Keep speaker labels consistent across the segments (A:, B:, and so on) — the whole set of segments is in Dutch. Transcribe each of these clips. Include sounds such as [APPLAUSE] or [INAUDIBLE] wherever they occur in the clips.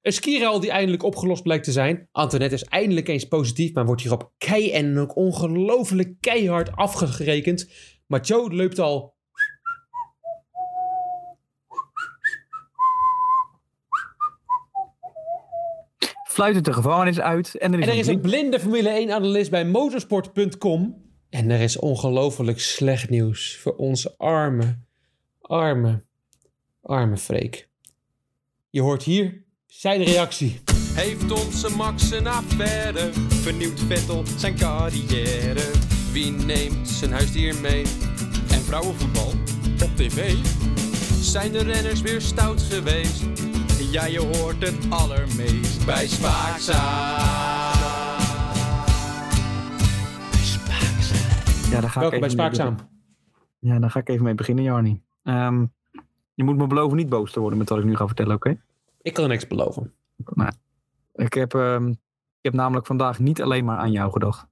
A: Een skiraal die eindelijk opgelost blijkt te zijn. Antoinette is eindelijk eens positief, maar wordt hierop kei en ook ongelooflijk keihard afgerekend. Maar Joe loopt al.
B: Fluitend de gevangenis uit. En er is,
A: En er
B: een
A: is een blinde Formule 1-analyst bij motorsport.com. En er is ongelooflijk slecht nieuws voor onze arme, arme, arme Freek. Je hoort hier zijn reactie.
C: Heeft onze Max een affaire? Vernieuwt Vettel zijn carrière? Wie neemt zijn huisdier mee? En vrouwenvoetbal op tv? Zijn de renners weer stout geweest? Ja, je hoort het allermeest bij Spaakzaam.
B: Ja, daar ga
A: Welkom bij
B: ik even mee
A: Spaakzaam.
B: beginnen. Ja, daar ga ik even mee beginnen, Jarni. Ehm, je moet me beloven niet boos te worden met wat ik nu ga vertellen, oké?
A: Ik kan er niks beloven.
B: Ik, heb, ehm, ik heb namelijk vandaag niet alleen maar aan jou gedacht.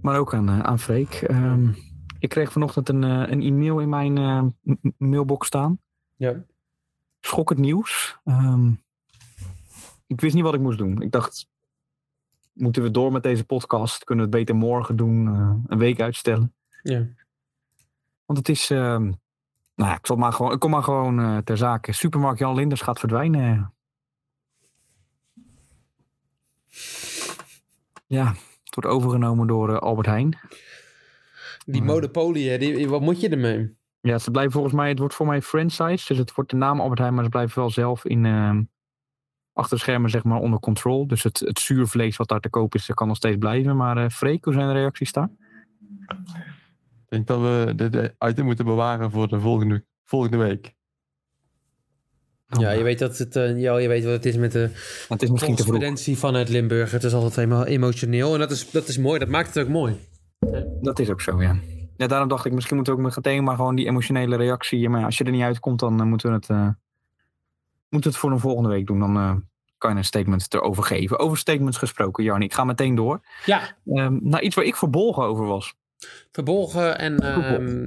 B: Maar ook aan, eh, aan Freek. Ehm, ik kreeg vanochtend een, eh, een e-mail in mijn eh, m- m- mailbox staan.
A: Ja.
B: schokkend nieuws. Ehm, ik wist niet wat ik moest doen. Ik dacht, moeten we door met deze podcast? Kunnen we het beter morgen doen? eh, een week uitstellen?
A: ja.
B: Want het is, ehm, nou ja, ik, zal maar gewoon, ik kom maar gewoon eh, ter zake. Supermarkt Jan Linders gaat verdwijnen. Ja, het wordt overgenomen door eh, Albert Heijn.
A: Die
B: Maar-
A: monopolie, hè, die, wat moet je ermee?
B: Ja, ze blijven volgens mij, het wordt voor mij een franchise. Dus het wordt de naam Albert Heijn, maar ze blijven wel zelf in ehm, achter de schermen zeg maar onder controle. Dus het, het zuurvlees wat daar te koop is, dat kan nog steeds blijven. Maar eh Freek, hoe zijn de reacties daar?
D: Ik denk dat we dit item moeten bewaren voor de volgende, volgende week.
A: Ja, je weet, dat het, eh, ja, je weet wat het is met de
B: het is misschien te vroeg.
A: correspondentie vanuit Limburg. Het is altijd helemaal emotioneel en dat is, dat is mooi. Dat maakt het ook mooi.
B: Dat is ook zo, ja. Ja, daarom dacht ik, misschien moeten we ook met getegen, maar gewoon die emotionele reactie. Maar ja, als je er niet uitkomt, dan eh, moeten we het, eh, moeten we het voor een volgende week doen. Dan eh, kan je een statement erover geven. Over statements gesproken, Jarni. Ik ga meteen door.
A: Ja,
B: Ehm nou, iets waar ik verbolgen over was.
A: verbolgen en, ehm,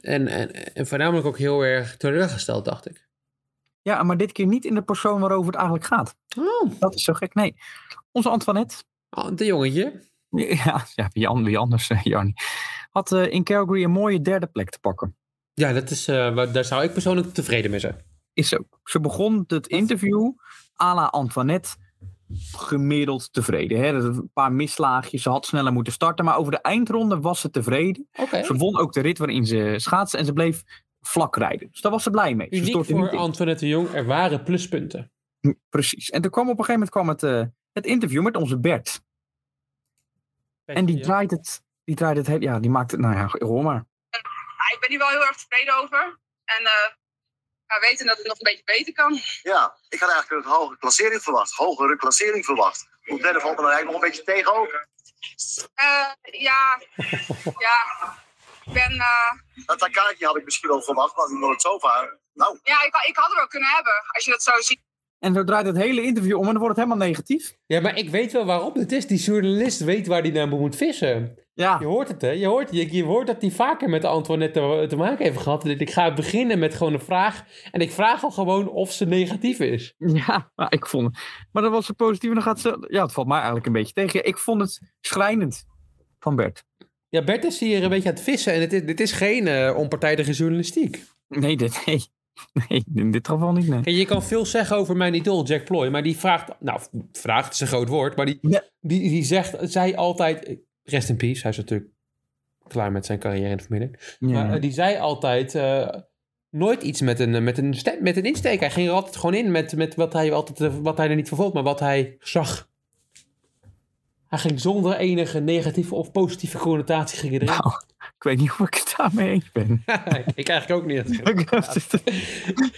A: en, en, en voornamelijk ook heel erg teleurgesteld, dacht ik.
B: Ja, maar dit keer niet in de persoon waarover het eigenlijk gaat.
A: Oh,
B: Dat is zo gek. Nee, onze Antoinette. [LAUGHS]
A: de Oh, jongetje.
B: Ja, ja wie, an- wie anders, eh, Jarni. Had eh, in Calgary een mooie derde plek te pakken.
A: Ja, dat is, eh, waar- daar zou ik persoonlijk tevreden mee zijn.
B: Is zo. Ze begon het interview à la Antoinette gemiddeld tevreden. Hè? Dat is Een paar mislaagjes, ze had sneller moeten starten. Maar over de eindronde was ze tevreden.
A: Oké.
B: Ze won ook de rit waarin ze schaatsen en ze bleef vlak rijden. Dus daar was ze blij mee. Ze
A: Uniek
B: stortte niet
A: voor
B: in.
A: Antoinette de Jong. Er waren pluspunten.
B: Precies. En toen kwam op een gegeven moment kwam het, eh, het interview met onze Bert. En die draait het, die draait het, heel- ja, die maakt het, nou ja, hoor maar.
E: Ja, ik ben hier wel heel erg tevreden over. En eh we weten dat het nog een beetje beter kan.
F: Ja, ik had eigenlijk een hogere klassering verwacht. Hogere klassering verwacht. Op derde valt me dan eigenlijk nog een beetje tegen ook.
E: Eh, ja, ja. Ik, ben, eh,
F: Dat Takaki had ik misschien wel verwacht, maar omdat het zo vaak... Nou,
E: ja, ik, ik had er wel kunnen hebben, als je dat zo ziet.
B: En zo draait het hele interview om en dan wordt het helemaal negatief.
A: Ja, maar ik weet wel waarom het is. Die journalist weet waar die naar moet vissen.
B: Ja, [LAUGHS]
A: Je hoort het, hè? Je hoort, je, je hoort dat hij vaker met de Antoinette te, te maken heeft gehad. Ik ga beginnen met gewoon een vraag. En ik vraag al gewoon of ze negatief is.
B: ja maar ik vond Maar dat was zo positief en dan gaat ze, ja, het valt mij eigenlijk een beetje tegen. Ik vond het schrijnend van Bert.
A: Ja, Bert is hier een beetje aan het vissen. En het is, dit is geen eh, onpartijdige journalistiek.
B: Nee, dit, [LAUGHS] nee. Nee, in dit geval niet, nee.
A: En je kan veel zeggen over mijn idool, Jack Ploy. Maar die vraagt, nou, vraagt is een groot woord. Maar die,
B: Ja.
A: die, die zegt, zei altijd, rest in peace. Hij is natuurlijk klaar met zijn carrière in de familie. Maar
B: Ja,
A: eh, die zei altijd eh, nooit iets met een, eh, met, een stem, met een insteek. Hij ging er altijd gewoon in met, met wat, hij altijd, eh, wat hij er niet vervolgt, maar wat hij zag. Hij ging zonder enige negatieve of positieve connotatie ging hij erin.
B: Nou, ik weet niet of ik het daarmee
A: [LAUGHS]
B: eens ben. [LAUGHS]
A: ik eigenlijk ook niet.
B: Dat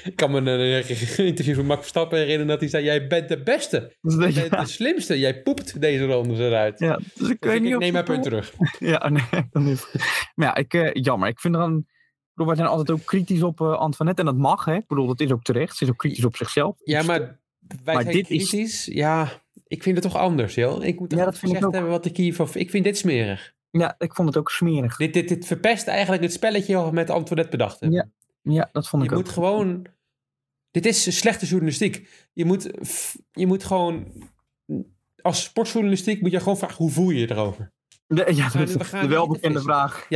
A: Ik kan me een eh, interview van Max Verstappen herinneren dat hij zei... Jij bent de beste,
B: is een beetje-
A: jij bent de slimste, jij poept deze rondes eruit.
B: ja, dus ik
A: Dus
B: weet
A: ik,
B: niet
A: ik
B: of
A: neem mijn
B: het wel-
A: punt terug.
B: Ja, oh nee, [LAUGHS] dan is het. Maar ja, ik, eh, jammer. Ik vind er een. Ik bedoel, wij zijn altijd ook kritisch op eh, Antoinette. En dat mag, hè? Ik bedoel, dat is ook terecht. Ze is ook kritisch op zichzelf.
A: Ja, maar wij
B: Maar
A: zijn
B: dit is-
A: kritisch. Ja, ik vind het toch anders, joh. Ik moet
B: Ja,
A: toch
B: dat vind ik
A: gezegd
B: ook.
A: hebben wat ik hiervan... Ik vind dit smerig.
B: Ja, ik vond het ook smerig.
A: Dit, dit, dit verpest eigenlijk het spelletje wat we met Antoinette bedacht hebben.
B: Ja, dat vond
A: je
B: ik
A: moet
B: ook.
A: gewoon Dit is slechte journalistiek. Je moet, f- je moet gewoon... Als sportjournalistiek moet je gewoon vragen... hoe voel je je erover?
B: De,
A: gaan
B: ja, dat
A: nu-
B: is
A: we gaan
B: de
A: nu
B: welbekende
A: vissen.
B: vraag.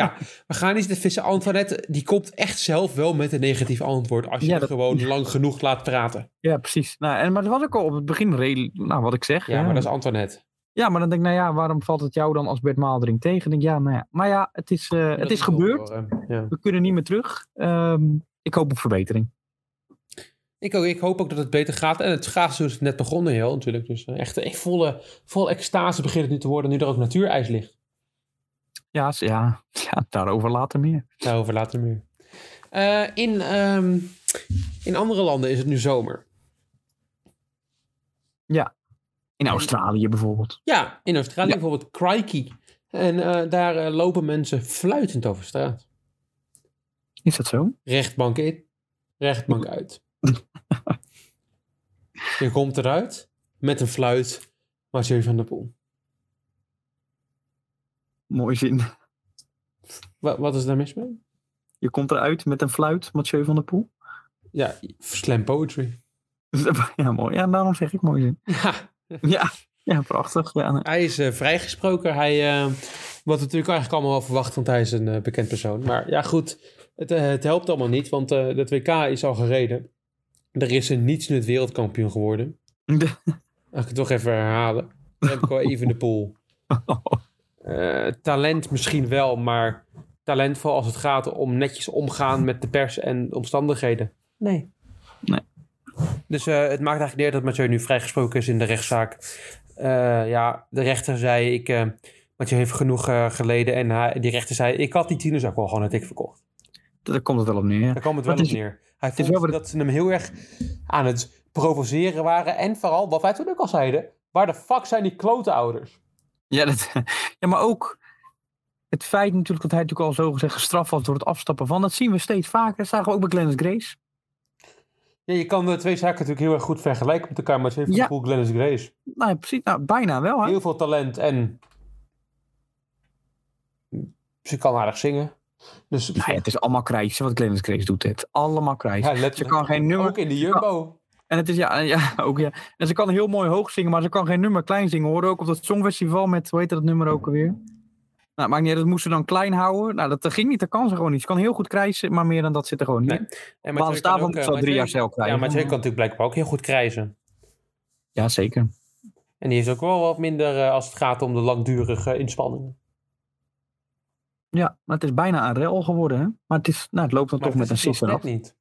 A: We gaan niet de vissen. Antoinette, die komt echt zelf wel met een negatief antwoord... als je
B: Ja,
A: het
B: dat-
A: gewoon lang genoeg laat praten.
B: Ja, precies. Nou, en, maar dat was ook al op het begin redelijk, nou, wat ik zeg.
A: Ja, maar dat is Antoinette.
B: Ja, maar dan denk ik, nou ja, waarom valt het jou dan als Bert Maaldering tegen? Dan denk ik, ja, nou ja. Maar ja, het is, eh, het is gebeurd.
A: eh, Ja.
B: We kunnen niet meer terug. Ehm, ik hoop op verbetering.
A: Ik, ook, ik hoop ook dat het beter gaat. En het schaatsen is dus net begonnen, heel natuurlijk. Dus eh, echt, echt volle, vol extase begint het nu te worden, nu er ook natuurijs ligt.
B: Ja, s- ja, [LAUGHS] ja daarover later meer.
A: Daarover later meer. Eh, in, ehm, in andere landen is het nu zomer.
B: In Australië bijvoorbeeld.
A: Ja, in Australië
B: Ja.
A: bijvoorbeeld Crikey. En eh, daar eh, lopen mensen fluitend over straat.
B: Is dat zo?
A: Rechtbank in, rechtbank [LAUGHS] uit. Je komt eruit met een fluit, Mathieu van der Poel.
B: Mooi zin.
A: Wa- wat is daar mis mee?
B: Je komt eruit met een fluit, Mathieu van der Poel. [LAUGHS] Dus,
A: Ja, slam poetry.
B: Ja, mooi. Ja, daarom zeg ik mooi zin.
A: [LAUGHS] Ja.
B: Ja, ja prachtig.
A: [LAUGHS]
B: Ja, nee.
A: Hij is eh, vrijgesproken. Hij, eh, wat we natuurlijk eigenlijk allemaal wel verwacht, want hij is een eh, bekend persoon. Maar ja, goed, het, eh, het helpt allemaal niet, want eh dat WK is al gereden. Er is een niets in het wereldkampioen geworden. Als ik het toch even herhalen. Dan heb ik wel even de pool. Eh, talent misschien wel, maar talentvol als het gaat om netjes omgaan met de pers en omstandigheden. Nee.
B: Nee.
A: Dus eh, het maakt eigenlijk niet uit dat Mathieu nu vrijgesproken is in de rechtszaak. Eh, ja, de rechter zei, ik, eh Mathieu heeft genoeg eh, geleden. En hij, die rechter zei, ik had die tieners ook wel gewoon het ik verkocht.
B: Daar komt het wel op neer.
A: Daar kwam het wel
B: Maar
A: op
B: het is-
A: neer. Hij
B: is
A: vond
B: wel wat-
A: dat ze hem heel erg aan het provoceren waren. En vooral, wat wij toen ook al zeiden, waar de fuck zijn die klote ouders?
B: Ja, dat, [LAUGHS] ja, maar ook het feit natuurlijk dat hij natuurlijk al zo gezegd gestraft was door het afstappen van. Dat zien we steeds vaker. Dat zagen we ook bij Glennis Grace.
A: Ja, je kan de twee zaken natuurlijk heel erg goed vergelijken met elkaar. Mathieu van
B: Ja.
A: ja. Poel, Glennis Grace.
B: Nou, ja, precies. Nou, bijna wel. Hè?
A: Heel veel talent en ze kan aardig zingen. Dus
B: Nou ja, het is allemaal krijs, wat Glennis Grace doet. Het allemaal krijs.
A: ja,
B: Ze
A: letterlijk.
B: kan geen nummer.
A: Ook in de Jumbo.
B: En het is ja, ja, [LAUGHS] ook ja. En ze kan heel mooi hoog zingen, maar ze kan geen nummer klein zingen. We hoorden ook op dat songfestival met, hoe heet dat nummer ook alweer? Nou, maakt niet uit, dat moesten ze dan klein houden. Nou, dat, dat ging niet, dat kan ze gewoon niet. Ze kan heel goed krijsen, maar meer dan dat zit er gewoon niet.
A: Nee,
B: in.
A: En
B: Maar
A: Mathieu kan
B: daarvan
A: ook, eh,
B: moet ze al drie jaar
A: Mathieu-
B: cel
A: Ja,
B: krijgen.
A: Mathieu kan natuurlijk blijkbaar ook heel goed krijzen.
B: Ja, zeker.
A: En die is ook wel wat minder eh, als het gaat om de langdurige inspanningen.
B: Ja, maar het is bijna een rel geworden. Hè? Maar het, is, nou, het loopt dan
A: Maar
B: toch met een
A: het is
B: sisser
A: nog
B: af.
A: net niet.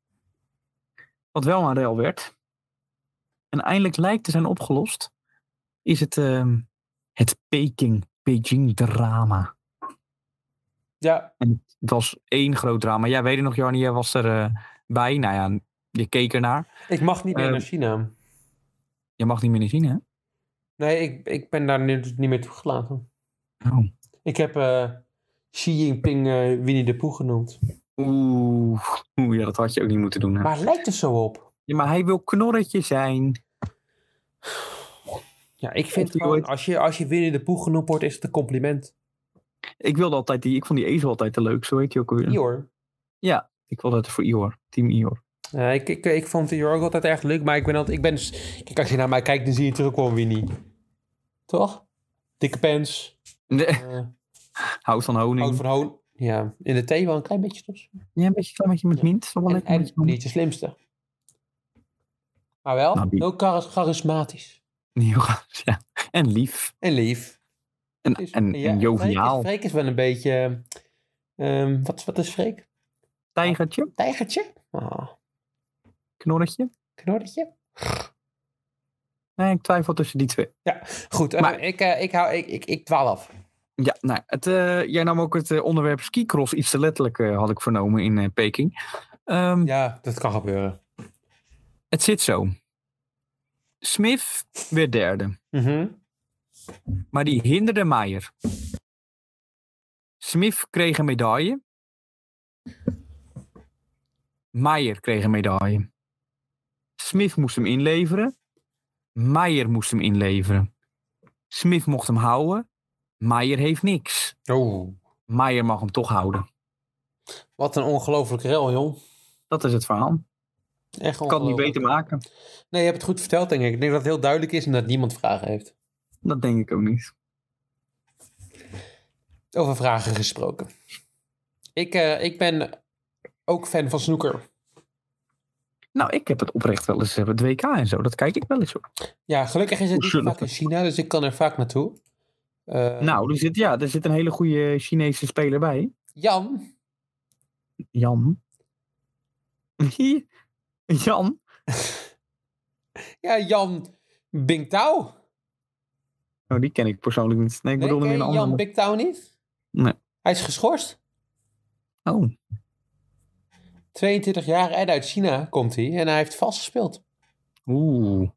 B: Wat wel een rel werd. En eindelijk lijkt te zijn opgelost. Is het, ehm, het Peking, Beijing drama.
A: Ja,
B: Het was één groot drama. Jij weet het nog, Jarnie, jij was er eh, bij. Nou ja, je keek ernaar.
A: ik mag niet meer
B: Ehm.
A: naar China.
B: Je mag niet meer naar China.
A: Nee, ik, ik ben daar nu dus niet meer toegelaten.
B: hè? Oh.
A: Ik heb eh, Xi Jinping eh, Winnie de Pooh genoemd.
B: Oeh, oeh, ja, dat had je ook niet moeten doen. Hè?
A: Maar het lijkt er zo op.
B: ja, maar hij wil knorretje zijn.
A: Ja, ik
B: Of
A: vind
B: die
A: gewoon,
B: ooit-
A: als je, als je Winnie de Pooh genoemd wordt, is het een compliment.
B: Ik wilde altijd die, ik vond die ezel altijd te leuk. Zo heet hij ook alweer.
A: Ja. hoor.
B: Ik wilde het voor Ior, team Ior.
A: Ja, Eh, ik, ik, ik vond Dior ook altijd erg leuk, maar ik ben altijd... Ik ben, dus- kijk, als je naar mij kijkt, dan zie je terug gewoon Winnie. Toch? Dikke pens.
B: Nee,
A: eh
B: [LAUGHS] hout van honing.
A: hout van hoon. Ja, in de thee wel een klein beetje toch?
B: Ja, een beetje klein beetje met
A: Ja.
B: mint. is toch wel
A: En,
B: lekker met
A: en
B: zo'n-
A: niet de slimste. Maar wel
B: Nou, die-
A: heel char- charismatisch.
B: Nieuw gas, [LAUGHS] ja. En lief.
A: En lief.
B: En,
A: Dus-
B: en,
A: ja,
B: en joviaal.
A: Freek is, Freek is wel een beetje... ehm, wat, wat is Freek?
B: Tijgertje,
A: Tijgertje? Ah,
B: knorretje.
A: knorretje?
B: Nee, ik twijfel tussen die twee.
A: Goed, eh,
B: Maar-
A: ik, eh, ik, hou, ik, ik, ik dwaal af.
B: Ja, nou, het, eh, jij nam ook het eh, onderwerp skicross iets te letterlijk, eh, had ik vernomen in eh, Peking. Ehm,
A: Ja, dat kan gebeuren.
B: Het zit zo. Smith werd derde,
A: Mhm.
B: maar die hinderde Meijer. Smith kreeg een medaille. Meijer kreeg een medaille. Smith moest hem inleveren. Meijer moest hem inleveren. Smith mocht hem houden. Meijer heeft niks.
A: Oh.
B: Meijer mag hem toch houden.
A: Wat een ongelofelijke rel, joh.
B: Dat is het verhaal.
A: Echt
B: kan het niet beter maken.
A: Nee, je hebt het goed verteld, denk ik. Ik denk dat het heel duidelijk is en dat niemand vragen heeft.
B: Dat denk ik ook niet.
A: Over vragen gesproken. Ik, eh, ik ben ook fan van snoeker.
B: Nou, ik heb het oprecht wel eens eh, het WK en zo. Dat kijk ik wel eens op.
A: Ja, gelukkig is het niet
B: Zullen
A: vaak in China, dus ik kan er vaak naartoe. Eh,
B: Nou, er zit, ja, er zit een hele goede Chinese speler bij.
A: Jan,
B: Jan. Jan?
A: ja, Jan Bingtao.
B: Nou, die ken ik persoonlijk niet. Nee, ik
A: Nee,
B: bedoel
A: ken
B: hem in
A: je
B: een
A: Jan
B: andere.
A: Bingtao niet?
B: Nee.
A: Hij is geschorst.
B: Oh,
A: 22 jaar en uit China komt hij en hij heeft vastgespeeld.
B: Oh. oeh.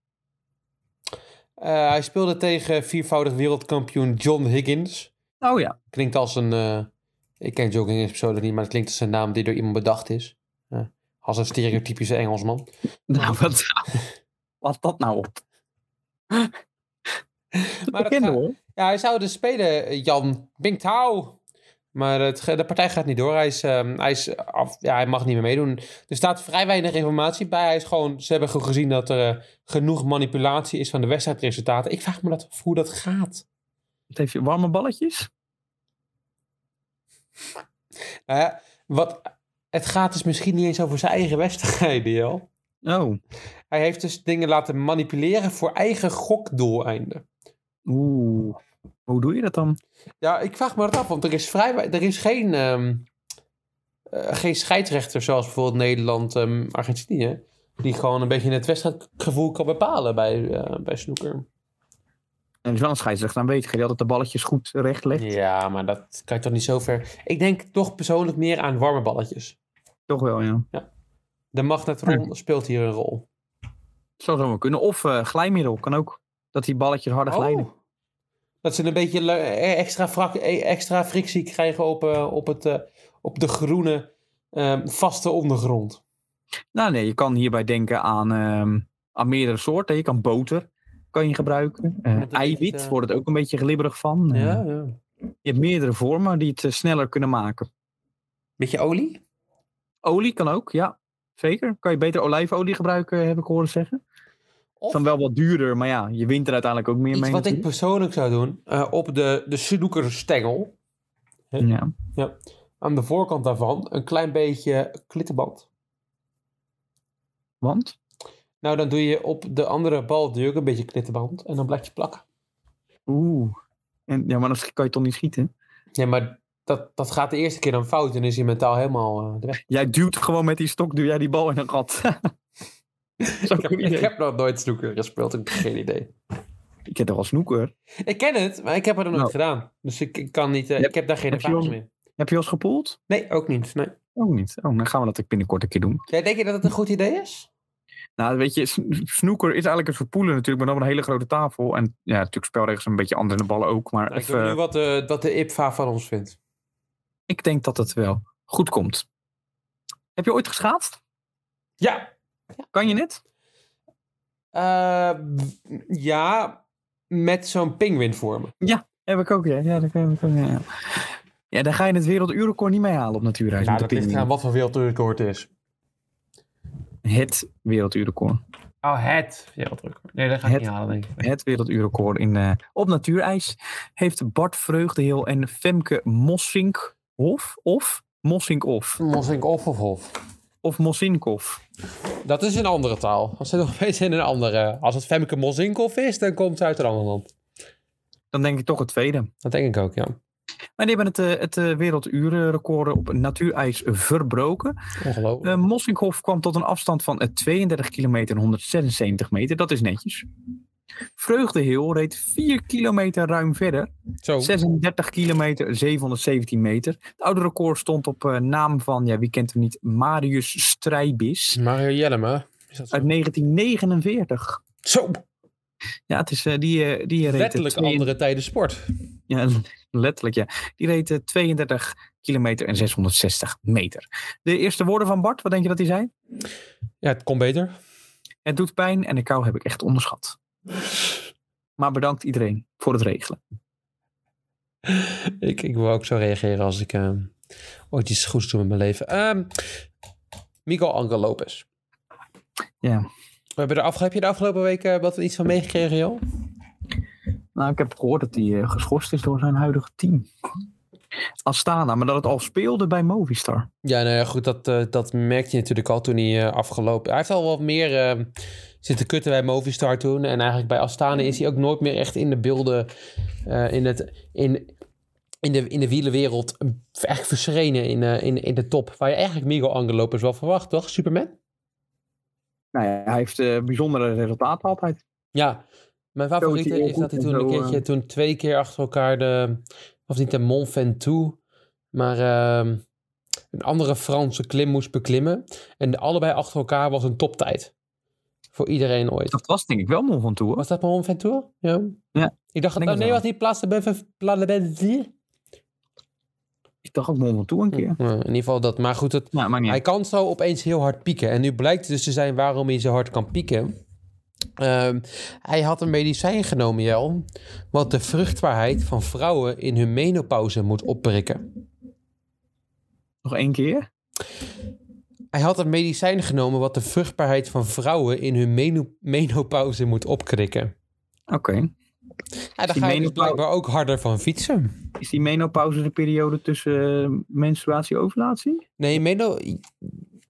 A: Eh, hij speelde tegen viervoudig wereldkampioen John Higgins.
B: Oh ja.
A: Klinkt als een. eh, ik ken Joe Higgins persoonlijk niet, maar het klinkt als een naam die door iemand bedacht is. Ja, als een stereotypische Engelsman.
B: Nou, wat, [LAUGHS] wat dat nou
A: [LAUGHS]
B: op?
A: Maar dat
B: Bekende,
A: gaat-
B: hoor.
A: ja, hij zou dus spelen, eh, Jan Bingtao. Maar het, ge- de partij gaat niet door. Hij, is, ehm, hij, is af, ja, hij mag niet meer meedoen. Er staat vrij weinig informatie bij. Hij is gewoon, ze hebben gewoon gezien dat er eh, genoeg manipulatie is van de wedstrijdresultaten. Ik vraag me dat, af hoe dat gaat.
B: Wat heeft je warme balletjes?
A: Nou ja, wat, het gaat dus misschien niet eens over zijn eigen wedstrijden, joh.
B: Oh.
A: Hij heeft dus dingen laten manipuleren voor eigen gokdoeleinden.
B: Oeh. Hoe doe je dat dan?
A: Ja, ik vraag me dat af, want er is, vrij, wei- er is geen, ehm, eh, geen scheidsrechter zoals bijvoorbeeld Nederland, ehm, Argentinië, die gewoon een beetje het wedstrijdgevoel kan bepalen bij, eh, bij snoeker.
B: Er is wel een scheidsrechter aanwezig die altijd de balletjes goed recht legt.
A: Ja, maar dat kan je toch niet zo ver. Ik denk toch persoonlijk meer aan warme balletjes.
B: Toch wel, ja.
A: De magnetron speelt hier een rol.
B: Zou zo maar kunnen. Of eh, glijmiddel kan ook. Dat die balletjes harder glijden.
A: Oh. Dat ze een beetje le- eh, extra, frak- eh, extra frictie krijgen op, eh, op, het, eh, op de groene ehm, vaste ondergrond.
B: Nou nee, je kan hierbij denken aan, ehm, aan meerdere soorten. Je kan boter kan je gebruiken. Eh,
A: Met een
B: eiwit
A: beetje-
B: wordt het ook een beetje glibberig van. Eh,
A: Ja, ja.
B: je hebt meerdere vormen die het eh, sneller kunnen maken.
A: Beetje olie?
B: Olie kan ook, ja. Zeker. Kan je beter olijfolie gebruiken, heb ik horen zeggen.
A: Of
B: Dan wel wat duurder, maar ja, je wint er uiteindelijk ook meer
A: iets
B: mee.
A: wat ik
B: natuurlijk.
A: persoonlijk zou doen. eh, op de, de snookerstengel,
B: ja.
A: aan de voorkant daarvan, een klein beetje klittenband.
B: Want?
A: Nou, dan doe je op de andere bal natuurlijk een beetje klittenband. En dan blijft je plakken.
B: Oeh. En, ja, maar dan schi- kan je toch niet schieten?
A: Nee, maar dat, dat gaat de eerste keer dan fout. En is je mentaal helemaal eh, de weg.
B: Jij duwt gewoon met die stok, duw jij die bal in een gat. [LAUGHS]
A: [LAUGHS]
B: Zo
A: Ik heb, ik heb nog nooit snooker gespeeld. Ik heb geen idee.
B: ik heb toch wel snoeker.
A: Ik ken het, maar ik heb het nog nooit
B: Nou.
A: gedaan. Dus ik, ik kan niet, eh,
B: Heb-
A: ik heb daar geen
B: heb je
A: ervaring
B: wel-
A: mee.
B: Heb je wel eens gepoeld?
A: Nee, ook niet. Nee.
B: Ook niet. Oh, dan gaan we dat binnenkort een keer doen.
A: Jij denk je dat het een goed idee is?
B: Nou, weet je, sn- snoeker is eigenlijk een verpoelen natuurlijk, maar dan op een hele grote tafel. En ja, natuurlijk spelregels zijn een beetje anders in de ballen ook. Maar
A: Nou, ik
B: even,
A: weet nu wat de, wat de IPVA van ons vindt.
B: ik denk dat het wel goed komt. Heb je ooit geschaatst?
A: Ja.
B: Kan je net?
A: eh, w- ja, met zo'n pinguïn voor me.
B: Heb ik ook, ja. Ja, dat kan ik ook, ja. ja daar ga je het werelduurrecord niet mee halen op Natuurhuis.
A: Nou,
B: met
A: dat
B: de
A: ligt
B: pinguïn.
A: aan wat voor wereldrecord het is.
B: Het werelduurrecord.
A: Oh, het wereldrecord. Nee, dat ga ik
B: Het-
A: niet halen, denk ik.
B: Het werelduurrecord in, eh, op natuurijs heeft Bart Vreugdeheel en Femke Mossinkhof of Mossinkhof
A: Mossink of of of.
B: of Mossinkhof.
A: Dat is een andere taal. Als het nog opeens in een andere... Als het Femke Mosinkoff is, dan komt het uit een ander land.
B: Dan denk ik toch het tweede.
A: Dat denk ik ook, ja.
B: Maar die hebben het, eh, het eh, wereldurenrecord op natuurijs verbroken.
A: Ongelooflijk.
B: Eh Mossinkhof kwam tot een afstand van eh, 32 kilometer en 176 meter. Dat is netjes. Vreugdeheel reed 4 kilometer ruim verder.
A: Zo.
B: 36 kilometer 717 meter. Het oude record stond op eh, naam van, ja, wie kent hem niet, Marius Strijbis.
A: Mario Jellema. Is dat zo?
B: Uit 1949.
A: Zo,
B: Ja, het is, eh, die, eh, die reed... eh,
A: letterlijk
B: twee-
A: andere tijden sport.
B: Ja, [LAUGHS] letterlijk, ja. Die reed eh, 32 kilometer en 660 meter. De eerste woorden van Bart, wat denk je dat hij zei?
A: Ja, het kon beter.
B: Het doet pijn en de kou heb ik echt onderschat. Maar bedankt iedereen voor het regelen.
A: Ik, ik wil ook zo reageren als ik eh, ooit iets goeds doe met mijn leven. Ehm Miguel Angel Ehm, Lopez. We hebben er af, heb je de afgelopen week eh, wat iets van meegekregen, joh?
B: Nou, ik heb gehoord dat hij eh, geschorst is door zijn huidige team. Astana, maar dat het al speelde bij Movistar.
A: Ja, nou ja, goed, dat, eh, dat merkte je natuurlijk al toen hij eh, afgelopen... Hij heeft al wat meer eh, zitten kutten bij Movistar toen. En eigenlijk bij Astana is hij ook nooit meer echt in de beelden... eh, in, het, in, in, de, in de wielenwereld eh, eigenlijk verschenen in, eh, in, in de top. Waar je eigenlijk Miguel Angel Lopez wel verwacht, toch? Superman?
B: Nou ja, hij heeft eh, bijzondere resultaten altijd.
A: Ja, mijn
B: Zo
A: favoriete
B: is hij
A: is dat hij
B: heel
A: toen
B: goed
A: een
B: en zo,
A: keertje,
B: eh.
A: toen twee keer achter elkaar de, of niet de Mont Ventoux, maar ehm, een andere Franse klim moest beklimmen. En allebei achter elkaar was een toptijd. Voor iedereen ooit.
B: Dat was denk ik wel Mon van Toe.
A: Was dat Mont Ventoux? Ja.
B: Ja,
A: Ik dacht, dat- oh
B: denk het
A: nee,
B: wel.
A: was niet Place de Beve- Place de Belleville?
B: Ik dacht ook Mon van Toe een keer.
A: Ja, In ieder geval dat. Maar goed, het,
B: Hm. Nou, maar niet.
A: Hij
B: uit.
A: kan zo opeens heel hard pieken. En nu blijkt dus te zijn waarom hij zo hard kan pieken. Ehm, hij had een medicijn genomen, Jel, wat de vruchtbaarheid van vrouwen in hun menopauze moet opprikken.
B: Nog één keer?
A: Hij had een medicijn genomen wat de vruchtbaarheid van vrouwen in hun meno- menopauze moet opkrikken.
B: Oké.
A: Ja, daar
B: Die
A: ga je dus
B: menopau-
A: blijkbaar ook harder van fietsen.
B: Is die menopauze de periode tussen eh, menstruatie en ovulatie?
A: Nee, meno-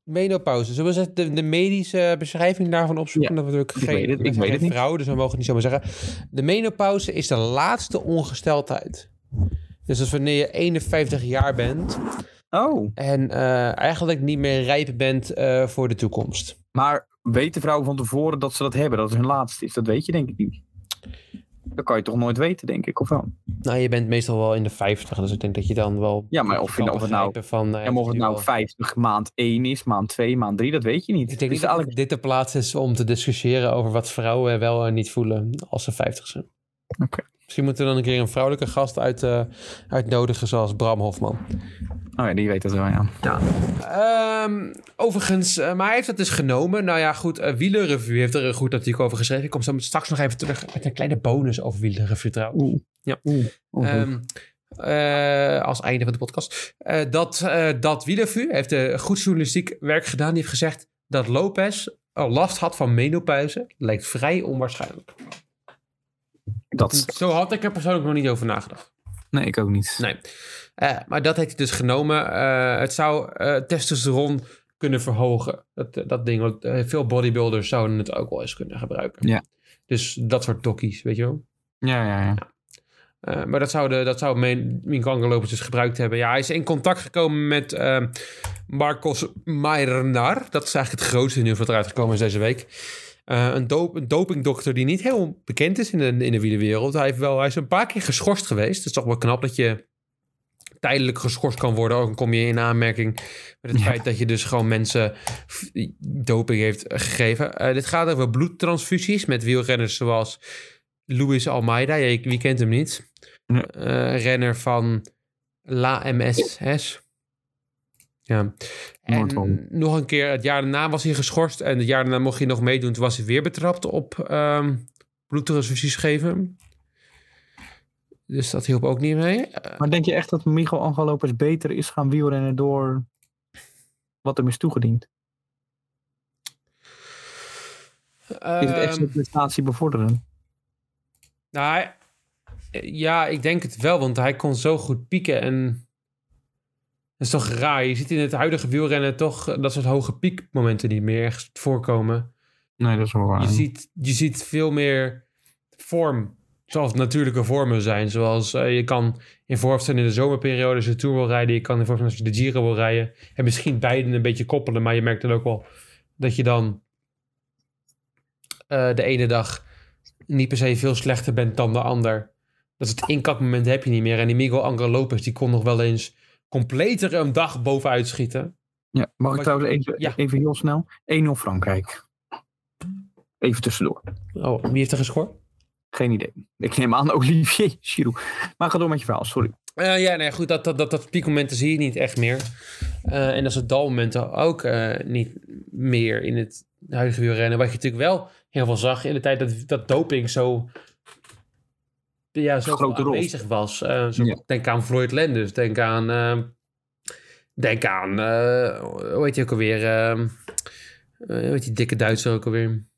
A: menopauze. Zullen we eens de, de medische beschrijving daarvan opzoeken? dat we natuurlijk
B: ik
A: geen,
B: weet het,
A: we
B: ik
A: zijn
B: weet het
A: geen
B: niet.
A: vrouwen, dus we mogen het niet zomaar zeggen. De menopauze is de laatste ongesteldheid. Dus dat is wanneer je 51 jaar bent
B: Oh,
A: en eh, eigenlijk niet meer rijp bent eh, voor de toekomst.
B: maar weten vrouwen van tevoren dat ze dat hebben? Dat het hun laatste is? Dat weet je denk ik niet. Dat kan je toch nooit weten, denk ik, of wel?
A: Nou, je bent meestal wel in de 50, dus ik denk dat je dan wel.
B: Ja, maar of je-
A: kan
B: of het nou-
A: begrijpen van, eh,
B: En of het
A: nu
B: nou
A: wel-
B: 50 maand 1 is, maand 2, maand 3, dat weet je niet.
A: Ik denk
B: Dus
A: niet dat
B: eigenlijk,
A: dit de plaats is om te discussiëren over wat vrouwen wel en niet voelen als ze 50 zijn.
B: Oké.
A: Misschien moeten we dan een keer een vrouwelijke gast uit, eh, uitnodigen, zoals Bram Hofman.
B: oh ja, die weet dat wel, ja.
A: Ehm, overigens, eh, maar hij heeft dat dus genomen. Nou ja, goed, eh Wielerreview heeft er een goed artikel over geschreven. Ik kom zo straks nog even terug met een kleine bonus over Wielerreview trouwens.
B: Oeh.
A: Ja.
B: Oeh. Oeh.
A: Ehm, eh, als einde van de podcast. Eh, dat eh dat Wielervu heeft eh, goed journalistiek werk gedaan. Die heeft gezegd dat Lopez al last had van menopauze. Lijkt vrij onwaarschijnlijk.
B: dat,
A: Zo had ik er persoonlijk nog niet over nagedacht.
B: nee, ik ook niet.
A: Nee. Eh, maar dat heeft hij dus genomen. Eh, het zou eh, testosteron kunnen verhogen. Dat, eh, dat ding. Want, eh, veel bodybuilders zouden het ook wel eens kunnen gebruiken.
B: Ja.
A: Dus dat soort tokkies, weet je wel.
B: Ja, ja, ja.
A: Eh, maar dat zou, de, dat zou mijn, mijn kankerlopers dus gebruikt hebben. Ja, hij is in contact gekomen met eh, Marcos Mayrnar. Dat is eigenlijk het grootste nieuws wat eruit gekomen is deze week. Eh, een, dop- een dopingdokter die niet heel bekend is in de, in de wielerwereld. Hij, heeft wel, hij is een paar keer geschorst geweest. Het is toch wel knap dat je tijdelijk geschorst kan worden. Ook dan kom je in aanmerking met het
B: Ja.
A: feit dat je dus gewoon mensen f- doping heeft gegeven. Eh, dit gaat over bloedtransfusies met wielrenners zoals Luis Almeida. Ja, je- wie kent hem niet?
B: Nee.
A: Eh, renner van La MSS. Ja.
B: Nooit
A: En
B: van.
A: nog een keer, het jaar daarna was hij geschorst. En het jaar daarna mocht hij nog meedoen. Toen was hij weer betrapt op ehm bloedtransfusies geven. Dus dat hielp ook niet mee. Eh,
B: Maar denk je echt dat Miguel Angel Lopez beter is gaan wielrennen door wat hem is toegediend? Is het echt
A: ehm,
B: zijn prestatie bevorderen?
A: Nou, hij- ja, ik denk het wel, want hij kon zo goed pieken en dat is toch raar. Je ziet in het huidige wielrennen toch eh, dat soort hoge piekmomenten niet meer echt voorkomen.
B: Nee, dat is wel waar.
A: Je, ziet, je ziet veel meer vorm, zoals natuurlijke vormen zijn. Zoals eh, je kan in vorm zijn in de zomerperiode als je de Tour wil rijden. Je kan in vorm zijn als je de Giro wil rijden. En misschien beiden een beetje koppelen, maar je merkt dan ook wel dat je dan eh, de ene dag niet per se veel slechter bent dan de ander. Dat is het inkakmoment heb je niet meer. En die Miguel Angel Lopez, die kon nog wel eens completer een dag bovenuit schieten.
B: Ja, mag ik
A: Wat-
B: trouwens even,
A: ja.
B: even heel snel? 1-0 Frankrijk. Even tussendoor.
A: Oh, wie heeft er gescoord?
B: Geen idee. Ik neem aan [LAUGHS] Olivier Giroud. Maar ga door met je verhaal, sorry.
A: Eh, ja, nee, goed, dat, dat, dat, dat piekmomenten zie je niet echt meer. Eh, en dat soort dalmomenten ook eh, niet meer in het huidige wielrennen. Wat je natuurlijk wel heel veel zag in de tijd dat, dat doping zo, ja, zo
B: Grote rol.
A: aanwezig was. Eh, zo,
B: Ja.
A: Denk aan Floyd Landers, denk aan... ehm, eh, denk aan, eh, hoe heet hij ook alweer? eh, eh, weet die dikke Duitser ook alweer?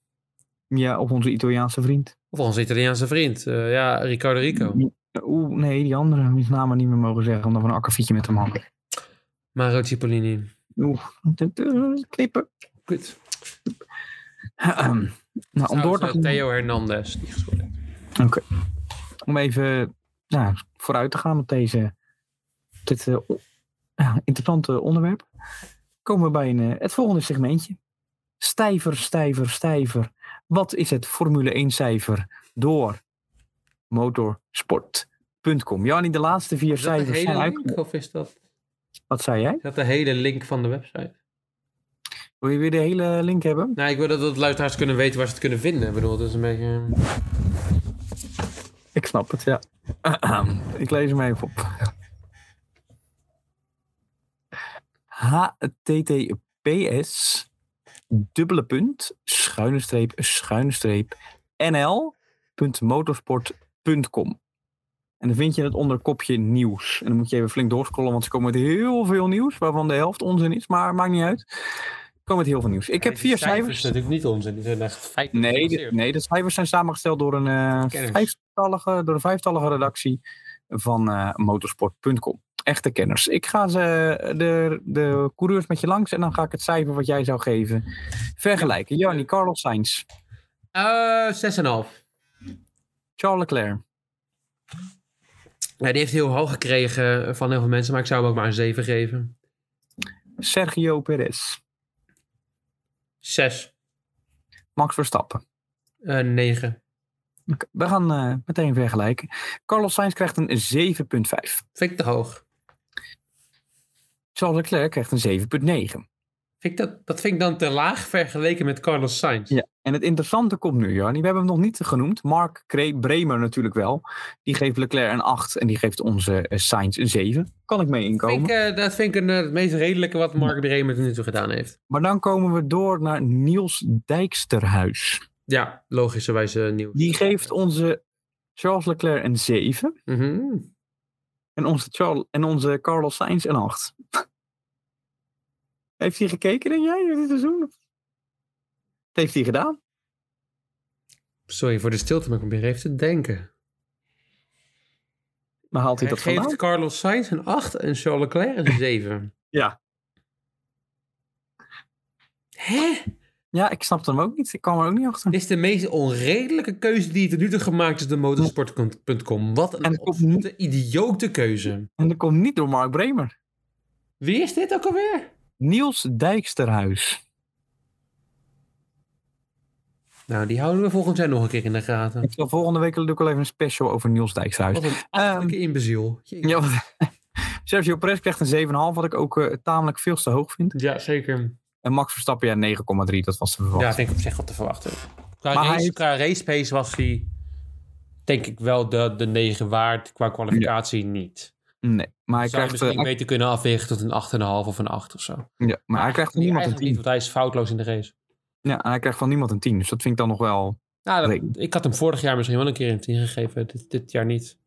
B: Ja, of onze Italiaanse vriend.
A: Of onze Italiaanse vriend. eh, ja, Riccardo Rico.
B: Oeh, nee, die andere. Die naam maar niet meer mogen zeggen, omdat we een akkefietje met hem hadden.
A: Mario Cipollini.
B: Oeh, dit, eh, knippen.
A: Goed.
B: nou, om door
A: Trouwens,
B: te
A: eh, Theo Hernandez. Die gescoord heeft.
B: om even nou, vooruit te gaan op deze, dit eh, o- ja, interessante onderwerp, komen we bij een, eh, het volgende segmentje. Stijver, stijver, stijver. Wat is het Formule 1-cijfer door motorsport.com? Jani, de laatste vier
A: Is dat de
B: cijfers zijn
A: hele
B: uit.
A: link? Of is dat,
B: Wat zei jij?
A: is dat de hele link van de website?
B: Wil je weer de hele link hebben?
A: Nou, ik wil dat de luisteraars kunnen weten waar ze het kunnen vinden. Ik bedoel, dat is een beetje...
B: Ik snap het, ja. [CLEARS THROAT] Ik lees hem even op. https dubbele punt schuine streep schuine streep nl.motorsport.com En dan vind je het onder kopje nieuws. En dan moet je even flink doorscrollen, want ze komen met heel veel nieuws, waarvan de helft onzin is, maar maakt niet uit. Er komen met heel veel nieuws. Ik heb vier cijfers.
A: natuurlijk niet onzin. Die zijn echt feiten.
B: Nee, de, nee, de cijfers zijn samengesteld door een, eh,
A: Kenners.
B: vijftallige, door een vijftallige redactie van eh, motorsport.com. Echte kenners. Ik ga ze, eh, de, de coureurs met je langs en dan ga ik het cijfer wat jij zou geven vergelijken. Jannie, Carlos Sainz,
A: Eh, 6,5.
B: Charles Leclerc.
A: Ja, die heeft heel hoog gekregen van heel veel mensen, maar ik zou hem ook maar een 7 geven.
B: Sergio Perez,
A: 6,
B: Max Verstappen.
A: eh, 9.
B: Oké, We gaan eh, meteen vergelijken. Carlos Sainz krijgt een 7,5.
A: Vind ik te hoog.
B: Charles Leclerc krijgt een 7,9.
A: Vind ik dat, dat vind ik dan te laag vergeleken met Carlos Sainz.
B: Ja. En het interessante komt nu, Jarni. We hebben hem nog niet genoemd. Mark Cre- Bremer natuurlijk wel. Die geeft Leclerc een 8 en die geeft onze eh, Sainz een 7. Kan ik mee inkomen.
A: Vind ik, eh, dat vind ik een, eh, het meest redelijke wat Mark Bremer tot nu toe gedaan heeft.
B: Maar dan komen we door naar Niels Dijksterhuis.
A: Ja, eh, logischerwijze nieuw.
B: Die geeft onze Charles Leclerc een 7
A: Mhm.
B: en onze, Charles, en onze Carlos Sainz een 8. [LAUGHS] Heeft hij gekeken, denk jij, dit seizoen? Wat heeft hij gedaan?
A: Sorry voor de stilte, maar ik probeer even te denken.
B: Maar haalt hij,
A: Hij
B: dat
A: geeft
B: vandaan?
A: Carlos Sainz een 8 en Charles Leclerc [LAUGHS] een 7.
B: Ja.
A: Hè?
B: Ja, ik snap hem ook niet. Ik kwam er ook niet achter.
A: Dit is de meest onredelijke keuze die tot nu toe gemaakt is door motorsport.com. Wat
B: En
A: een
B: het komt
A: absolute idiote keuze.
B: En dat komt niet door Mark Bremer.
A: Wie is dit ook alweer?
B: Niels Dijksterhuis.
A: Nou, die houden we volgend jaar nog een keer in de gaten.
B: Ik zal volgende week natuurlijk al even een special over Niels Dijksterhuis.
A: Wat een achterlijke imbeziel. Jeetje.
B: Ehm, Ja, wat- [LAUGHS] Sergio Perez krijgt een 7,5, wat ik ook eh, tamelijk veel te hoog vind.
A: Ja, zeker.
B: En Max Verstappen, ja, 9,3, dat was te verwachten.
A: Ja, vind ik op zich wel te verwachten. Qua,
B: Maar hij
A: race,
B: heeft-
A: qua race pace was hij denk ik wel de, de 9 waard. Qua kwalificatie niet.
B: Nee, maar hij
A: zou je
B: krijgt,
A: misschien
B: eh,
A: beter kunnen afwegen tot een 8,5 of een 8 of zo.
B: ja, maar hij krijgt, van niemand een
A: Ah, Eigenlijk
B: 10.
A: niet, want hij is foutloos in de race.
B: Ja, hij krijgt van niemand een 10, dus dat vind ik dan nog wel...
A: Nou, dat-
B: Zeker.
A: ik had hem vorig jaar misschien wel een keer een 10 gegeven. Dit, dit jaar niet,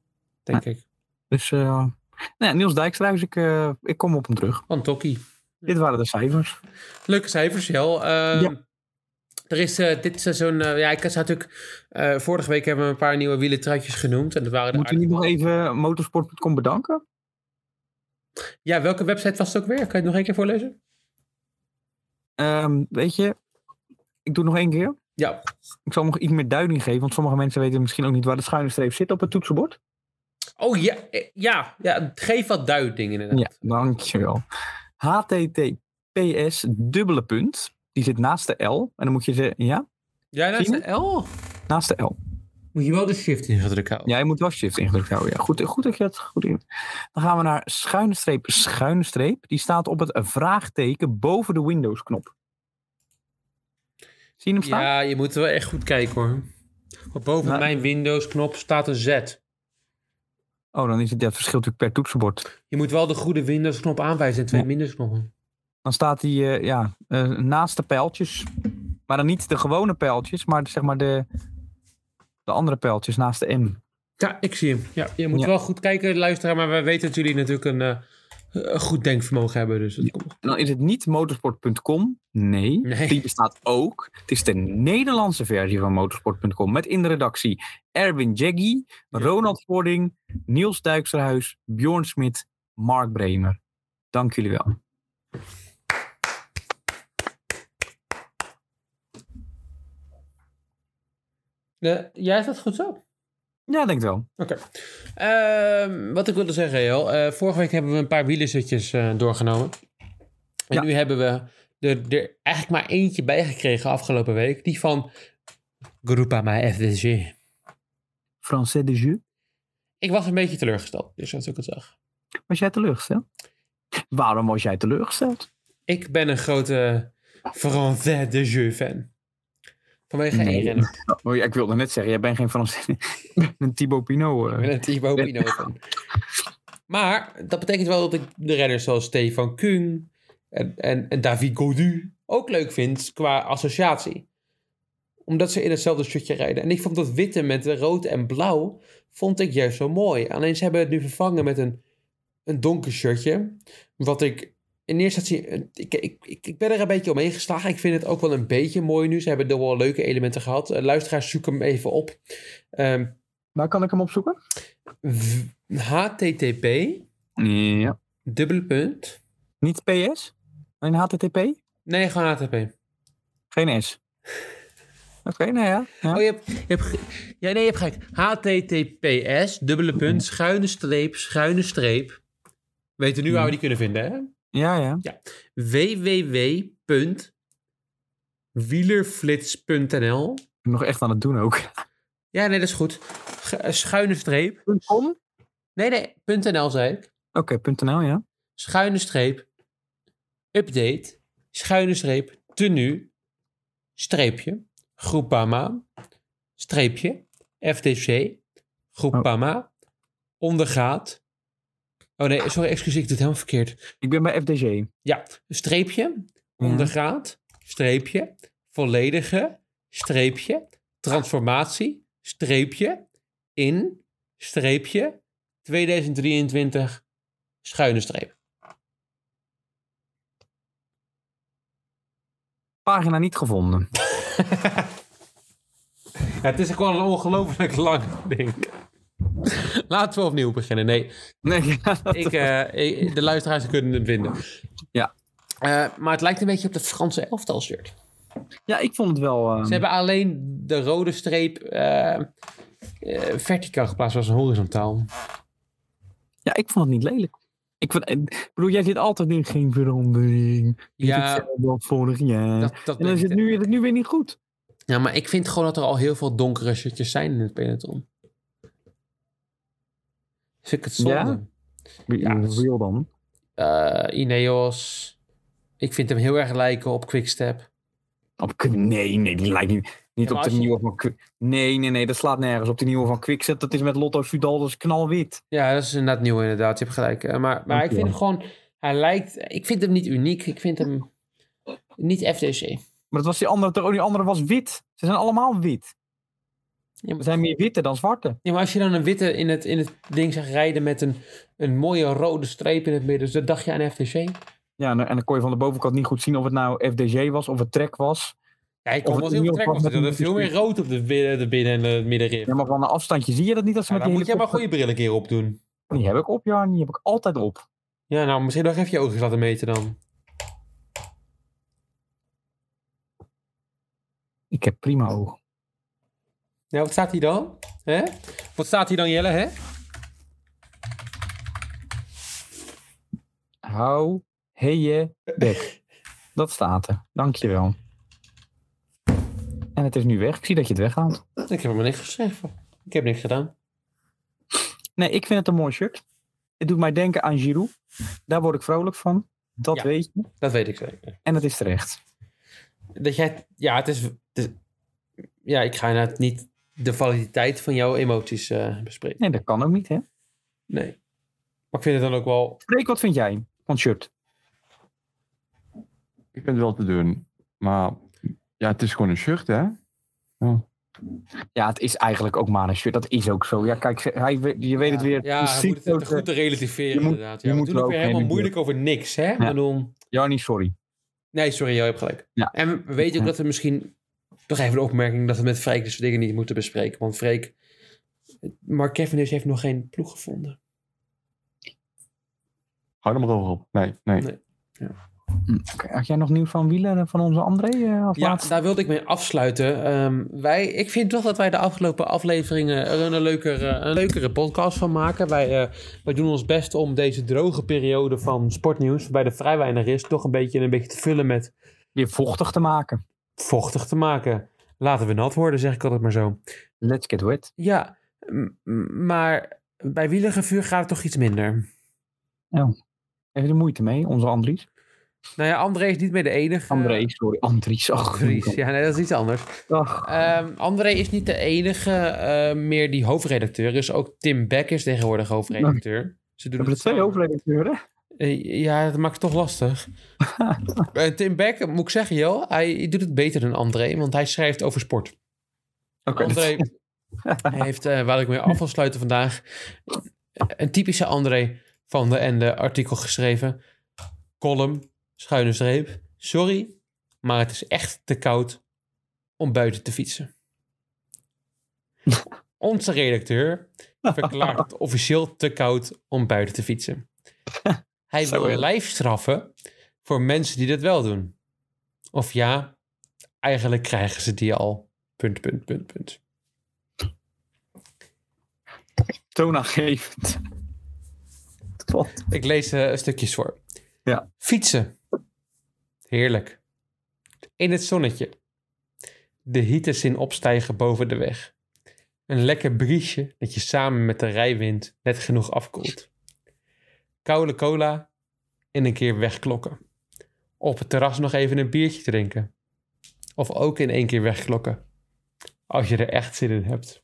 A: denk ik.
B: Dus eh, nou ja, Niels Dijksterhuis, ik, eh, ik kom op hem terug.
A: Van Tokkie.
B: Dit waren de cijfers.
A: Leuke cijfers, Jel. Ehm, Er is eh, dit seizoen... eh, ja, ik had natuurlijk... eh, vorige week hebben we een paar nieuwe wielentruitjes genoemd. En dat waren er
B: Moeten we niet nog even motorsport.com bedanken?
A: aardig- Ja, welke website was het ook weer? Kan je het nog één keer voorlezen?
B: Ehm, weet je, ik doe het nog één keer.
A: Ja.
B: Ik zal nog iets meer duiding geven, want sommige mensen weten misschien ook niet waar de schuine streep zit op het toetsenbord.
A: Oh, ja. eh, Ja, ja geef wat duiding inderdaad.
B: Ja, dankjewel. HTTPS dubbele punt. Die zit naast de L. En dan moet je ze, ja,
A: Ja, dat is
B: Zie je?
A: een L.
B: naast de L.
A: Moet je wel de shift ingedrukt houden.
B: Ja, je moet wel shift ingedrukt houden. Ja, goed, goed dat je dat goed in. Dan gaan we naar schuine streep, schuine streep. Die staat op het vraagteken boven de Windows knop. Zie je hem staan?
A: Ja, je moet wel echt goed kijken hoor. Want boven
B: Nou.
A: mijn Windows-knop staat een Z.
B: Oh, dan is het dat verschil natuurlijk per toetsenbord.
A: Je moet wel de goede Windows-knop aanwijzen en twee
B: Ja.
A: Windows-knoppen.
B: Dan staat hij eh, ja, eh, naast de pijltjes. Maar dan niet de gewone pijltjes, maar zeg maar de, de andere pijltjes naast de M.
A: Ja, ik zie hem. Ja, je moet
B: Ja.
A: wel goed kijken, luisteraar. Maar wij weten dat jullie natuurlijk een eh, een goed denkvermogen hebben. Dus dat komt.
B: En dan is het niet motorsport.com. Nee,
A: Nee.
B: die bestaat ook. Het is de Nederlandse versie van motorsport.com. Met in de redactie Erwin Jeggy, Ronald Voording, Niels Duiksterhuis, Bjorn Smit, Mark Bremer. Dank jullie wel.
A: Ja, Eh, jij is dat goed zo?
B: Ja, denk het wel.
A: Ehm, wat ik wilde zeggen, joh. eh, vorige week hebben we een paar wielerzutjes eh, doorgenomen. En
B: Ja.
A: nu hebben we er, er eigenlijk maar eentje bij gekregen afgelopen week. Die van Groupama FDG.
B: Français de jeu.
A: Ik was een beetje teleurgesteld, dus dat is ook het zag.
B: Was jij teleurgesteld? Waarom was jij teleurgesteld?
A: Ik ben een grote Français de Jeu fan. Vanwege één
B: Nee.
A: renner.
B: Oh, ja, ik wilde net zeggen, jij bent geen [LAUGHS] Français. Ik ben een Thibaut Pinot. eh.
A: Ik ben een Thibaut Pinot fan. Maar dat betekent wel dat ik de renners zoals Stefan Kung en, en, en David Godu ook leuk vind qua associatie. Omdat ze in hetzelfde shirtje rijden. En ik vond dat witte met rood en blauw vond ik juist zo mooi. Alleen ze hebben het nu vervangen met een, een donker shirtje. Wat ik in eerste instantie... Ik, ik, ik, ik ben er een beetje omheen geslagen. Ik vind het ook wel een beetje mooi nu. Ze hebben er wel leuke elementen gehad. Eh, Luisteraars, zoek hem even op. Ehm,
B: Waar Nou, kan ik hem opzoeken?
A: v- http
B: Ja.
A: dubbele punt
B: Niet PS? Alleen HTTP?
A: nee gewoon http
B: Geen S. Oké, nou ja. ja.
A: oh je hebt, je hebt ge- ja nee je hebt gelijk https dubbele punt schuine streep schuine streep weten nu waar we die kunnen vinden hè
B: Ja, ja.
A: www.wielerflits.nl
B: Ik ben nog echt aan het doen ook.
A: ja nee dat is goed Ge- eh, schuine streep
B: .com? Oké,
A: nee nee .nl zei ik
B: .nl, ja.
A: schuine streep update schuine streep tenue streepje groepama streepje FTC groepama ondergaat oh nee sorry excuus ik doe het helemaal verkeerd
B: Ik ben bij FDG.
A: ja streepje ondergaat streepje volledige streepje transformatie streepje in streepje 2023 schuine streep
B: Pagina niet gevonden.
A: Ja, het is gewoon een ongelooflijk lang ding. Laten we opnieuw beginnen. Nee,
B: Nee, [LAUGHS] ja, dat-
A: ik, eh, ik- de luisteraars kunnen hem vinden.
B: Ja.
A: Eh, maar het lijkt een beetje op dat Franse elftal shirt.
B: ja, ik vond het wel... eh,
A: Ze hebben alleen de rode streep eh, eh, verticaal geplaatst als een horizontaal.
B: Ja, ik vond het niet lelijk. Ik, vond, eh, ik bedoel, jij zit altijd in geen verandering. Ja.
A: Ja,
B: Hetzelfde als vorig jaar.
A: dat, dat
B: en dan is het, nu, is het nu weer niet goed.
A: ja, maar ik vind gewoon dat er al heel veel donkere shirtjes zijn in het peloton. Dus ik het zonde.
B: Ja?
A: Ja, dat is-
B: Real dan.
A: Eh, Ineos. Ik vind hem heel erg lijken op Quickstep.
B: Op, Qu- nee, nee, die lijkt niet, niet
A: Ja, maar
B: op
A: als
B: de
A: je-
B: nieuwe van Quick. Nee, nee, nee, dat slaat nergens op. Die nieuwe van Quickset, dat is met Lotto Soudal, dat is knalwit.
A: Ja, dat is inderdaad nieuw inderdaad. Je hebt gelijk. Eh, maar maar ik vind hem gewoon... Hij lijkt... Ik vind hem niet uniek. Ik vind hem niet FDC.
B: Maar dat was die andere, toch ook? die andere was wit. Ze zijn allemaal wit.
A: Ja, maar-
B: Er zijn meer witte dan zwarte.
A: Ja, maar als je dan een witte in het, in het ding zag rijden met een, een mooie rode streep in het midden, dus dat dacht je aan FDC.
B: Ja, en, en dan kon je van de bovenkant niet goed zien of het nou FDG was, of het trek was.
A: Ja, ik kon
B: Of het
A: wel
B: in
A: heel
B: ieder
A: vertrek
B: geval
A: was.
B: met
A: Er
B: een
A: is veel meer rood op de, binnen- de binnen- en de middenrif.
B: Ja, maar van een afstandje zie je dat niet als ze
A: Ja,
B: met
A: dan
B: die
A: moet jij maar
B: helikopter-
A: goede bril een keer opdoen.
B: Die heb ik op, ja, die heb ik altijd op.
A: Ja, nou, misschien nog even je ogen laten meten dan.
B: Ik heb prima ogen.
A: Nou, wat staat hier dan? Hè? Wat staat hier dan, Jelle, hè?
B: Hou heje bek. Dat staat er. Dankjewel. En het is nu weg. Ik zie dat je het weghaalt.
A: Ik heb hem niks geschreven. Ik heb niks gedaan.
B: Nee, ik vind het een mooi shirt. Het doet mij denken aan Giroud. Daar word ik vrolijk van. Dat
A: Ja.
B: weet je.
A: Dat weet ik zeker.
B: En het is terecht.
A: dat jij, ja, het is, het is- ja, ik ga inderdaad niet de validiteit van jouw emoties eh, bespreken.
B: Nee, dat kan ook niet, hè?
A: Nee. Maar ik vind het dan ook wel,
B: Freek, wat vind jij van het shirt?
D: Ik vind het wel te doen. Maar ja, het is gewoon een shirt, hè? Ja.
B: Ja, het is eigenlijk ook manenshirt. Dat is ook zo. Ja, kijk, hij, we- je weet het weer.
A: Ja,
B: precies
A: je moet het
B: zo-
A: goed te relativeren
B: Je moet-
A: inderdaad.
B: je
A: Ja, we
B: moet
A: doen
B: er
A: ook
B: ook
A: weer helemaal
B: heen en
A: moeilijk over niks, hè? Ik
B: Ja.
A: bedoel,
B: Jarnie, sorry.
A: nee, sorry, jij hebt gelijk.
B: Ja.
A: En we weten ook
B: Ja.
A: dat we misschien... Nog even de opmerking dat we met Freek dus dingen niet moeten bespreken. Want Freek... Mark Cavendish heeft nog geen ploeg gevonden.
D: Hou er maar over op. Nee, nee.
A: Nee.
B: Hm, Oké, had jij nog nieuws van wielen van onze André? eh, als
A: Ja,
B: laatste?
A: daar wilde ik mee afsluiten. Ehm, wij, ik vind toch dat wij de afgelopen afleveringen er een leukere, een leukere podcast van maken. Wij, eh, wij doen ons best om deze droge periode van sportnieuws, waarbij er vrij weinig is, toch een beetje, een beetje te vullen met
B: Weer vochtig te maken.
A: vochtig te maken. Laten we nat worden, zeg ik altijd maar zo.
B: Let's get wet.
A: Ja, m- m- maar bij wieligenvuur gaat het toch iets minder.
B: Even de moeite mee, onze Andries.
A: Nou ja, André is niet meer de enige.
B: André, sorry. Andries. oh, Ach,
A: Eh, Andries. Ja, nee, dat is iets anders.
B: Ach,
A: Ehm, André is niet de enige eh, meer die hoofdredacteur is. Ook Tim Beck is tegenwoordig hoofdredacteur. Ze
B: we
A: doen
B: hebben er
A: het
B: twee
A: samen.
B: hoofdredacteuren.
A: Eh, ja, dat maakt het toch
B: [LAUGHS]
A: lastig. Eh, Tim Beck, moet ik zeggen, joh, hij doet het beter dan André, want hij schrijft over sport.
B: Oké. [LAUGHS]
A: André heeft, eh, waar ik mee af wil sluiten vandaag, een typische André van de Ende artikel geschreven. Column, schuine streep. Sorry, maar het is echt te koud om buiten te fietsen. Onze redacteur verklaart het officieel te koud om buiten te fietsen. Hij
B: Zo,
A: wil
B: ja.
A: lijfstraffen voor mensen die dat wel doen. Of ja, eigenlijk krijgen ze die al. Punt, punt, punt, punt.
B: Toonaangevend. Wat?
A: Ik lees eh, een stukjes voor.
B: Ja.
A: Fietsen. Heerlijk. In het zonnetje. De hitte zien opstijgen boven de weg. Een lekker briesje dat je samen met de rijwind net genoeg afkoelt. Koude cola en een keer wegklokken. Op het terras nog even een biertje drinken. Of ook in één keer wegklokken. Als je er echt zin in hebt.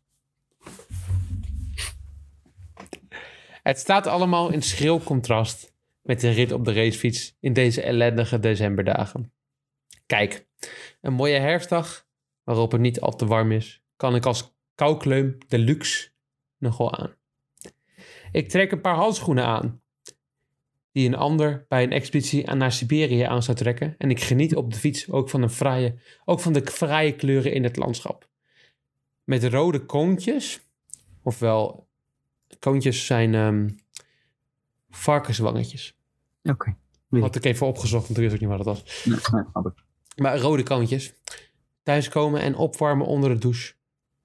A: Het staat allemaal in schril contrast met de rit op de racefiets in deze ellendige decemberdagen. Kijk, een mooie herfstdag waarop het niet al te warm is, kan ik als koukleum de luxe nogal aan. Ik trek een paar handschoenen aan, die een ander bij een expeditie aan- naar Siberië aan zou trekken, en ik geniet op de fiets ook van, een fraaie, ook van de fraaie kleuren in het landschap. Met rode koontjes, ofwel koontjes zijn ehm, varkenswangetjes.
B: Oké. Ja.
A: Had ik even opgezocht, want ik wist ook niet wat dat was.
B: Nee, nee, snap ik.
A: Maar rode koontjes. Thuiskomen en opwarmen onder de douche.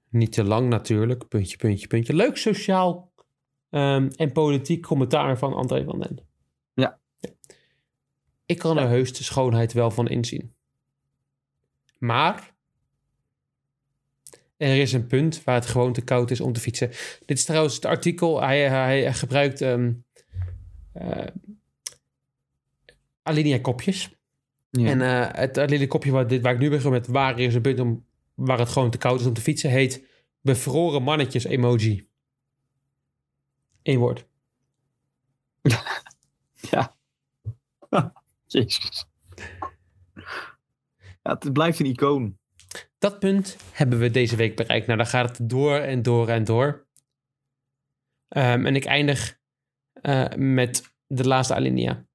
A: Niet te lang natuurlijk. Puntje, puntje, puntje. Leuk sociaal ehm, en politiek commentaar van André van Den.
B: Ja.
A: Ik kan er heus de schoonheid wel van inzien. Maar er is een punt waar het gewoon te koud is om te fietsen. Dit is trouwens het artikel. Hij, hij gebruikt ehm eh, alinea kopjes.
B: Ja.
A: En eh, het alinea kopje waar, dit, waar ik nu ben met waar is een punt om, waar het gewoon te koud is om te fietsen heet bevroren mannetjes emoji. Eén woord.
B: Jezus. Ja, het blijft een icoon.
A: Dat punt hebben we deze week bereikt. Nou, dan gaat het door en door en door. Ehm, en ik eindig eh, met de laatste alinea.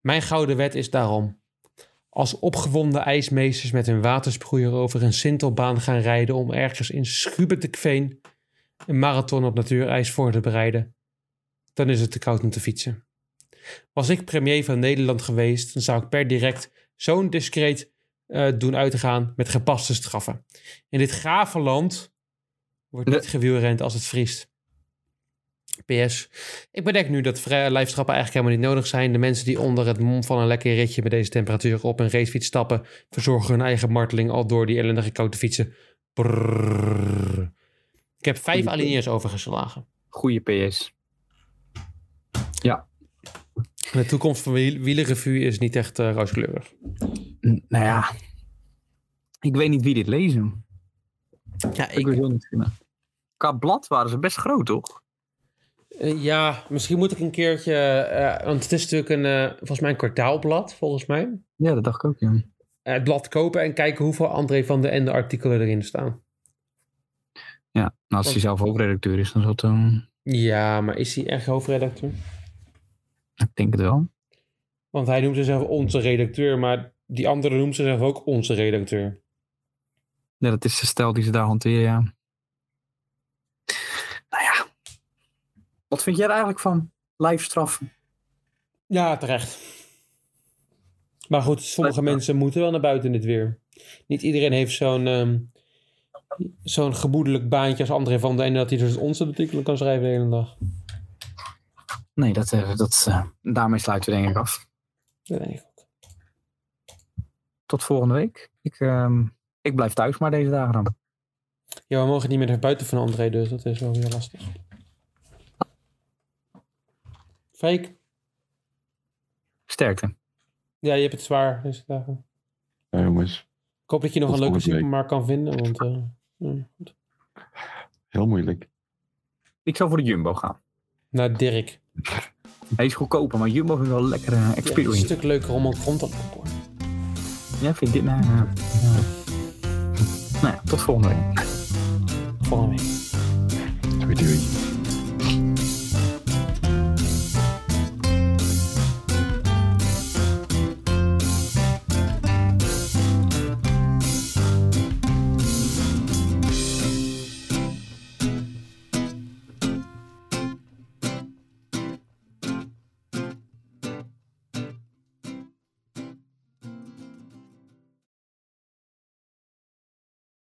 A: Mijn gouden wet is daarom. Als opgewonden ijsmeesters met hun watersproeier over een sintelbaan gaan rijden om ergens in Schubertekveen een marathon op natuurijs voor te bereiden, dan is het te koud om te fietsen. Was ik premier van Nederland geweest, dan zou ik per direct zo'n discreet eh, doen uit te gaan met gepaste straffen. In dit gave land wordt
B: Nee.
A: niet gewielrend als het vriest. PS. Ik bedenk nu dat vrije lijfstrappen eigenlijk helemaal niet nodig zijn. De mensen die onder het mom van een lekker ritje met deze temperatuur op een racefiets stappen, verzorgen hun eigen marteling al door die ellendige koude fietsen. Brrrr. Ik heb vijf alinea's overgeslagen.
B: Goeie PS.
A: De toekomst van wiel- wielerrevue is niet echt eh, rooskleurig.
B: N- nou ja. Ik weet niet wie dit lezen.
A: Ja,
B: Ik, wil heel niet vinden. Qua blad waren ze best groot, toch?
A: Eh, ja, misschien moet ik een keertje. eh, want het is natuurlijk een, eh, volgens mij een kwartaalblad, volgens mij.
B: Ja, dat dacht ik ook, ja.
A: eh, het blad kopen en kijken hoeveel André van de Ende artikelen erin staan.
B: Ja, nou, als hij zelf hoofdredacteur is, dan zal het... ehm,
A: Ja, maar is hij echt hoofdredacteur?
B: ik denk het wel.
A: Want hij noemt zichzelf onze redacteur, maar die andere noemt zichzelf ook onze redacteur.
B: Ja, dat is de stijl die ze daar hanteren, ja. Nou ja. Wat vind jij er eigenlijk van? Lijfstraffen.
A: Ja, terecht. Maar goed, sommige
B: Blijkbaar.
A: mensen moeten wel naar buiten in het weer. Niet iedereen heeft zo'n ehm, zo'n gemoedelijk baantje als André van de Ende dat hij dus onze artikelen kan schrijven de hele dag.
B: Nee, dat, eh, dat, eh, daarmee sluiten we denk ik af.
A: Dat denk ik ook.
B: Tot volgende week. Ik, ehm, ik blijf thuis maar deze dagen dan.
A: Ja, we mogen niet meer naar buiten van André, dus dat is wel weer lastig. Freek,
B: Sterkte.
A: ja, je hebt het zwaar deze dagen.
D: Ja, jongens.
A: Ik hoop dat je nog
D: Tot
A: een leuke
D: volgende week.
A: supermarkt kan vinden, want... eh, ja, goed.
D: Heel moeilijk.
B: Ik zou voor de Jumbo gaan.
A: Naar Nou, Dirk.
B: Hij is goedkoper, maar Jumbo vindt wel een lekkere
A: Ja, een
B: experience.
A: stuk leuker om op grond te lopen.
B: Ja, vind je dit nou... ja. Ja. Nou ja, tot volgende week.
A: Volgende week.
D: Doei doei.